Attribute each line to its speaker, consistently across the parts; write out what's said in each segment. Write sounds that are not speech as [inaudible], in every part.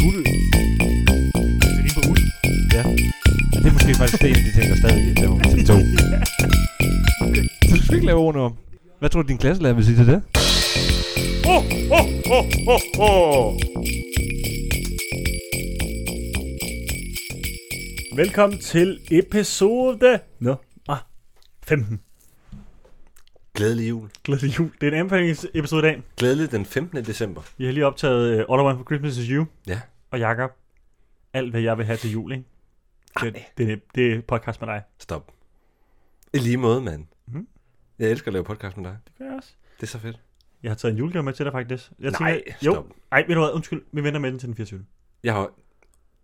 Speaker 1: guld.
Speaker 2: Det er lige på uld.
Speaker 1: Og det er måske faktisk det, en af de ting, der stadig er på til to. Så du skal ikke lave ordene om. Hvad tror du, din klasselærer vil sige til det?
Speaker 2: Velkommen til episode Nå. Ah, 15.
Speaker 3: Glædelig jul.
Speaker 2: Glædelig jul. Det er en anbefalingsepisode i dag.
Speaker 3: Glædelig den 15. december.
Speaker 2: Vi har lige optaget uh, All I Want for Christmas is You.
Speaker 3: Ja.
Speaker 2: Og Jakob. Alt, hvad jeg vil have til jul, ikke? Det, det, er- det er podcast med dig.
Speaker 3: Stop. I lige måde, mand.
Speaker 2: Mhm.
Speaker 3: Jeg elsker at lave podcast med dig.
Speaker 2: Det gør jeg også.
Speaker 3: Det er så fedt.
Speaker 2: Jeg har taget en julegave med til dig, faktisk. Jeg
Speaker 3: Nej,
Speaker 2: jo.
Speaker 3: stop.
Speaker 2: Ej, ved du hvad? Undskyld. Vi venter med den til den 24.
Speaker 3: Jeg har...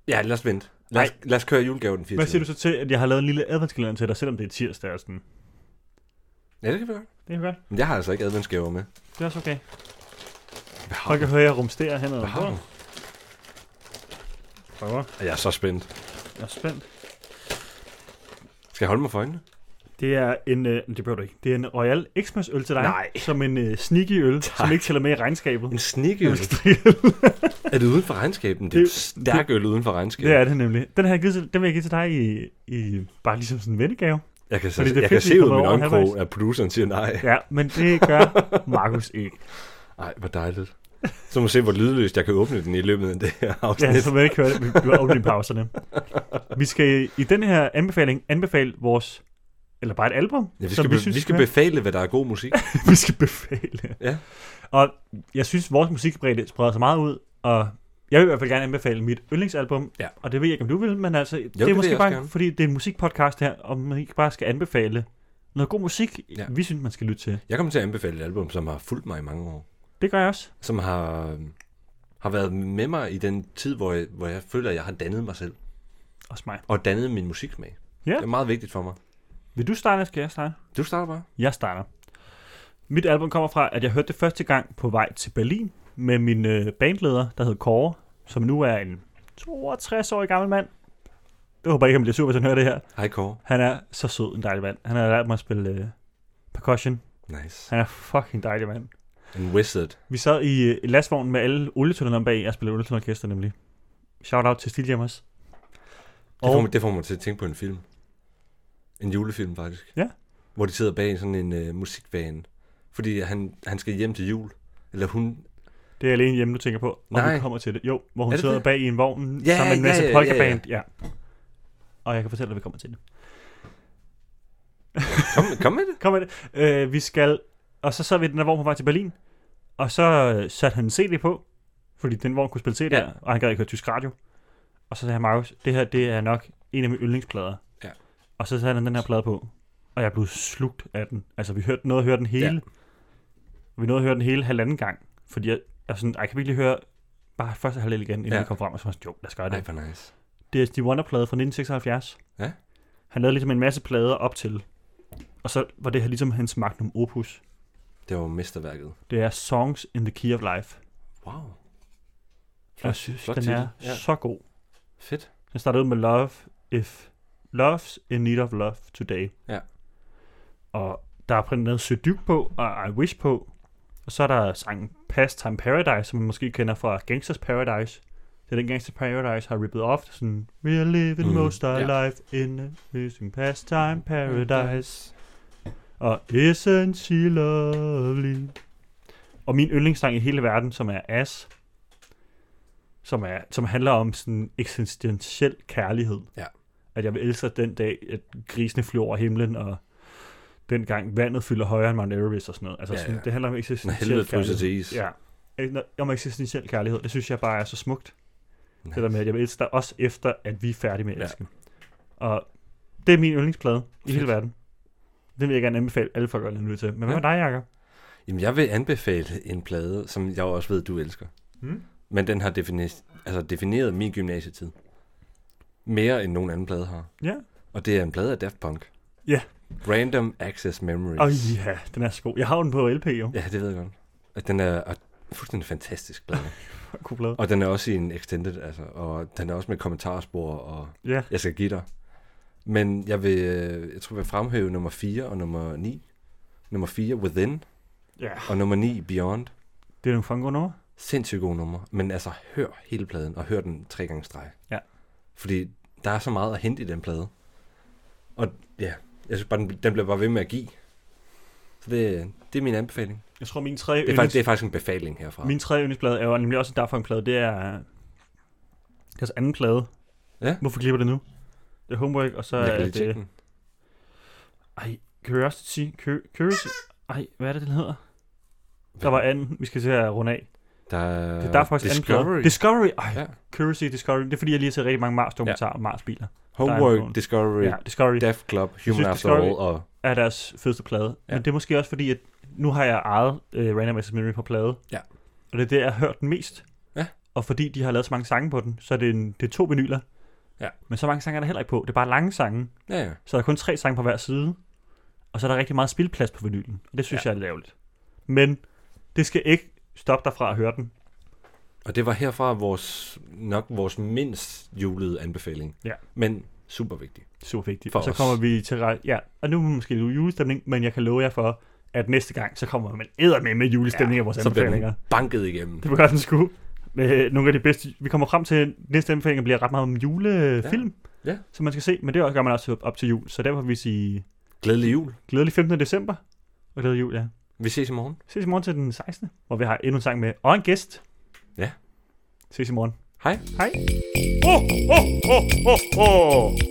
Speaker 3: Ja, lad os vente. Lad os, lad os køre julegave den 24.
Speaker 2: Hvad siger du så til, at jeg har lavet en lille adventskalender til dig, selvom det er tirsdag og sådan?
Speaker 3: Ja, det kan vi gøre.
Speaker 2: Det er godt.
Speaker 3: Men jeg har altså ikke adventsgaver med.
Speaker 2: Det er også okay.
Speaker 3: Hvad har
Speaker 2: Folk
Speaker 3: du?
Speaker 2: kan høre, jeg rumsterer hen ad
Speaker 3: Hvad har du?
Speaker 2: Prøver.
Speaker 3: Og Jeg er så spændt.
Speaker 2: Jeg er spændt.
Speaker 3: Skal jeg holde mig for øjnene?
Speaker 2: Det er en, øh, det behøver du ikke, det er en Royal Xmas øl til dig.
Speaker 3: Nej.
Speaker 2: Som en øh, sneaky
Speaker 3: [laughs]
Speaker 2: øl, tak. som ikke tæller med i regnskabet.
Speaker 3: En snikøl. er det uden for regnskaben? Det er
Speaker 2: Det-
Speaker 3: jo stærk øl uden for
Speaker 2: [laughs]
Speaker 3: regnskaben.
Speaker 2: det er det nemlig. Den, har jeg givet til, den vil jeg give til dig i, i bare ligesom sådan en vennegave.
Speaker 3: Jeg kan, så,
Speaker 2: Fordi det er
Speaker 3: jeg
Speaker 2: fedt,
Speaker 3: kan
Speaker 2: vi
Speaker 3: se ud af
Speaker 2: kommer
Speaker 3: min
Speaker 2: over
Speaker 3: øjenkrog,
Speaker 2: halvvejs.
Speaker 3: at produceren siger nej.
Speaker 2: Ja, men det
Speaker 3: [laughs]
Speaker 2: gør Markus ikke.
Speaker 3: Nej, hvor dejligt. Så må vi se, hvor lydløst jeg kan åbne den i løbet af det her afsnit.
Speaker 2: Ja, så vil jeg ikke høre det. Vi bliver åbne i pauserne. Vi skal i den her anbefaling anbefale vores, eller bare et album,
Speaker 3: Ja, vi
Speaker 2: som
Speaker 3: skal,
Speaker 2: vi
Speaker 3: vi,
Speaker 2: synes,
Speaker 3: vi skal befale, hvad der er god musik.
Speaker 2: [laughs] vi skal befale.
Speaker 3: Ja.
Speaker 2: Og jeg synes, vores musikbredde spreder sig meget ud, og jeg vil i hvert fald gerne anbefale mit yndlingsalbum,
Speaker 3: Ja.
Speaker 2: og det ved jeg ikke, om du vil, men altså, jo, det
Speaker 3: det
Speaker 2: er
Speaker 3: vil
Speaker 2: måske
Speaker 3: jeg
Speaker 2: bare,
Speaker 3: også gerne.
Speaker 2: fordi det er en musikpodcast her, og man ikke bare skal anbefale noget god musik, ja.
Speaker 3: Ja.
Speaker 2: vi synes, man skal lytte til.
Speaker 3: Jeg kommer til at anbefale et album, som har fulgt mig i mange år.
Speaker 2: Det gør jeg også.
Speaker 3: Som har, øhm, har været med mig i den tid, hvor jeg, hvor jeg føler, at jeg har dannet mig selv.
Speaker 2: Også mig.
Speaker 3: Og dannet min musiksmag.
Speaker 2: Ja.
Speaker 3: Det er meget vigtigt for mig.
Speaker 2: Vil du starte, eller skal jeg starte?
Speaker 3: Du starter bare.
Speaker 2: Jeg starter. Mit album kommer fra, at jeg hørte det første gang på vej til Berlin med min øh, bandleder, der hed Kåre, som nu er en 62-årig gammel mand. Jeg håber ikke, han bliver sur, hvis han hører det her.
Speaker 3: Hej Kåre.
Speaker 2: Han er så sød en dejlig mand. Han har lært mig at spille øh, percussion.
Speaker 3: Nice.
Speaker 2: Han er fucking dejlig mand.
Speaker 3: En wizard.
Speaker 2: Vi sad i øh, lastvognen med alle olietønderne om bag. Jeg spillede olietønderorkester nemlig. Shout out til Stiljammers.
Speaker 3: Det får,
Speaker 2: Og
Speaker 3: mig, det får mig til at tænke på en film. En julefilm faktisk.
Speaker 2: Ja.
Speaker 3: Hvor de sidder bag sådan en uh, musikvane. Fordi han, han skal hjem til jul. Eller hun...
Speaker 2: det er alene hjemme, du tænker på. Og
Speaker 3: Nej.
Speaker 2: vi kommer til det. Jo, hvor hun
Speaker 3: Er det
Speaker 2: sidder
Speaker 3: det?
Speaker 2: bag i en vogn
Speaker 3: Ja,
Speaker 2: ja, sammen med en
Speaker 3: ja,
Speaker 2: masse
Speaker 3: ja, ja,
Speaker 2: polkaband. Ja, ja. Og jeg kan fortælle dig, at vi kommer til det.
Speaker 3: Kom, kom med det.
Speaker 2: Kom med det. Øh, vi skal... Og så sad vi i den der vogn på vej til Berlin. Og så øh, satte han en CD på. Fordi den vogn kunne spille CD, ja.
Speaker 3: Ja.
Speaker 2: og han gad ikke høre tysk radio. Og så sagde han, Markus, det her det er nok en af mine yndlingsplader.
Speaker 3: Ja.
Speaker 2: Og så satte han den her plade på. Og jeg blev slugt af den. Altså, vi hørte noget hørte den hele. Ja. Vi nåede at høre den hele halvanden gang. Fordi jeg, jeg, var sådan, "Ej, kan vi ikke lige høre bare første halvdel igen, inden ja.
Speaker 3: Ja.
Speaker 2: vi kom frem. Og så var jeg sådan, jo, lad os gøre det.
Speaker 3: Ej, hvor nice.
Speaker 2: Det er Stevie Wonder-plade fra 1976.
Speaker 3: Ja.
Speaker 2: Han lavede ligesom en masse plader op til. Og så var det her ligesom hans magnum opus.
Speaker 3: Det var mesterværket.
Speaker 2: Det er Songs in the Key of Life.
Speaker 3: Wow.
Speaker 2: Jeg synes,
Speaker 3: flot
Speaker 2: den
Speaker 3: titel.
Speaker 2: er
Speaker 3: Ja.
Speaker 2: så god.
Speaker 3: Fedt.
Speaker 2: Den starter ud med Love if Love's in need of love today.
Speaker 3: Ja.
Speaker 2: Og der er printet noget Seduc på, og I Wish på. Og så er der sangen Pastime Paradise, som man måske kender fra Gangsters Paradise. Det er den Gangsters Paradise har rippet off. Sådan, We are living
Speaker 3: Mhm,
Speaker 2: most our
Speaker 3: ja.
Speaker 2: life in a missing pastime paradise.
Speaker 3: Mm.
Speaker 2: Og Isn't she lovely? Og min yndlingssang i hele verden, som er As, som, er, som handler om sådan eksistentiel kærlighed.
Speaker 3: Ja.
Speaker 2: At jeg vil elske dig den dag, at grisene flyver over himlen, og dengang vandet fylder højere end Mount Everest og sådan noget. Altså, ja,
Speaker 3: Ja,
Speaker 2: sådan,
Speaker 3: ja.
Speaker 2: det handler om
Speaker 3: Når
Speaker 2: eksistentiel
Speaker 3: helvede fryser
Speaker 2: kærlighed.
Speaker 3: til is.
Speaker 2: Ja. Eh, når- Om eksistentiel kærlighed. Det synes jeg bare er så smukt.
Speaker 3: Nice.
Speaker 2: Det der med, at jeg vil elske dig også efter, at vi er færdige med at elske. Ja. Og det er min yndlingsplade i hele
Speaker 3: Fedt.
Speaker 2: verden. Den vil jeg gerne anbefale alle folk at lytte til. Men hvad
Speaker 3: Ja.
Speaker 2: med dig, Jacob?
Speaker 3: Jamen, jeg vil anbefale en plade, som jeg også ved, du elsker.
Speaker 2: Mm.
Speaker 3: Men den har defini- altså defineret min gymnasietid. Mere end nogen anden plade har.
Speaker 2: Ja.
Speaker 3: Og det er en plade af Daft Punk.
Speaker 2: Ja.
Speaker 3: Random Access Memories.
Speaker 2: Åh oh, ja, den er så god. Jeg har den på LP jo.
Speaker 3: Ja, det ved jeg godt. At den er og fuldstændig fantastisk plade.
Speaker 2: [laughs] God plade.
Speaker 3: og den er også i en extended, altså. Og den er også med kommentarspor, og
Speaker 2: Ja,
Speaker 3: jeg skal give dig. Men jeg vil, øh, jeg tror, jeg vil fremhæve nummer 4 og nummer 9. Nummer 4, Within,
Speaker 2: ja.
Speaker 3: og nummer 9, Beyond.
Speaker 2: Det er nogle funko nummer.
Speaker 3: Sindssygt gode numre. Men altså, hør hele pladen, og hør den tre gange i streg.
Speaker 2: Ja.
Speaker 3: Fordi der er så meget at hente i den plade. Og ja, jeg synes bare, den, den bliver bare ved med at give. Så det, det er min anbefaling.
Speaker 2: Jeg tror, min tredje,
Speaker 3: Det er, faktisk, det er faktisk en befaling herfra.
Speaker 2: Øh, min tredje yndlingsplade er jo nemlig også en derfor en plade. Det er øh, deres anden plade.
Speaker 3: Ja.
Speaker 2: Hvorfor klipper det nu? Det er Homework, og så
Speaker 3: jeg
Speaker 2: er
Speaker 3: kan lige tjekke
Speaker 2: det...
Speaker 3: den.
Speaker 2: Ej, Curiosity. Cur- Curiosity. Ej, hvad er det, den hedder? Der var anden, vi skal se at runde af.
Speaker 3: Der er,
Speaker 2: Det er derfor også anden
Speaker 3: Discovery.
Speaker 2: plade. Discovery. Ej,
Speaker 3: Ja.
Speaker 2: Curiosity Discovery. Det er fordi, jeg lige har set rigtig mange Mars-dokumentarer om Mars-biler. Der er
Speaker 3: Homework,
Speaker 2: en-
Speaker 3: Discovery,
Speaker 2: Ja, Discovery
Speaker 3: Death Club, Human
Speaker 2: synes,
Speaker 3: After
Speaker 2: Discovery-
Speaker 3: All og...
Speaker 2: er deres fedeste plade.
Speaker 3: Ja.
Speaker 2: Ja. Men det er måske også fordi, at nu har jeg ejet uh, Random Access Memory på plade.
Speaker 3: Ja.
Speaker 2: Og det er det, jeg har hørt den mest.
Speaker 3: Ja.
Speaker 2: Og fordi de har lavet så mange sange på den, så er det, en, det er to vinyler.
Speaker 3: Ja.
Speaker 2: Men så mange sange er der heller ikke på. Det er bare lange sange.
Speaker 3: Ja, ja.
Speaker 2: Så der er kun tre sange på hver side. Og så er der rigtig meget spilplads på vinylen. Og det synes ja. jeg er lavligt. Men det skal ikke stoppe dig fra at høre den.
Speaker 3: Og det var herfra vores, nok vores mindst julede anbefaling.
Speaker 2: Ja.
Speaker 3: Men super vigtig.
Speaker 2: Super vigtigt.
Speaker 3: For
Speaker 2: og så
Speaker 3: os.
Speaker 2: kommer vi til... rej- Ja, og nu er vi måske lidt julestemning, men jeg kan love jer for, at næste gang, så kommer man eddermame med julestemning ja, af vores
Speaker 3: så bliver
Speaker 2: anbefalinger.
Speaker 3: den banket igennem.
Speaker 2: Det var godt, den skulle. Med nogle af de bedste. Vi kommer frem til, næste anbefaling bliver ret meget om julefilm,
Speaker 3: Ja. Ja.
Speaker 2: som man skal se, men det også- gør man også op til jul. Så derfor vil vi sige
Speaker 3: Glædelig jul.
Speaker 2: glædelig 15. december, og glædelig jul, ja.
Speaker 3: Vi ses i morgen.
Speaker 2: Ses i morgen til den 16., hvor vi har endnu en sang med, og en gæst.
Speaker 3: Ja.
Speaker 2: Ses i morgen.
Speaker 3: Hej.
Speaker 2: Hej. Oh, oh, oh, oh, oh.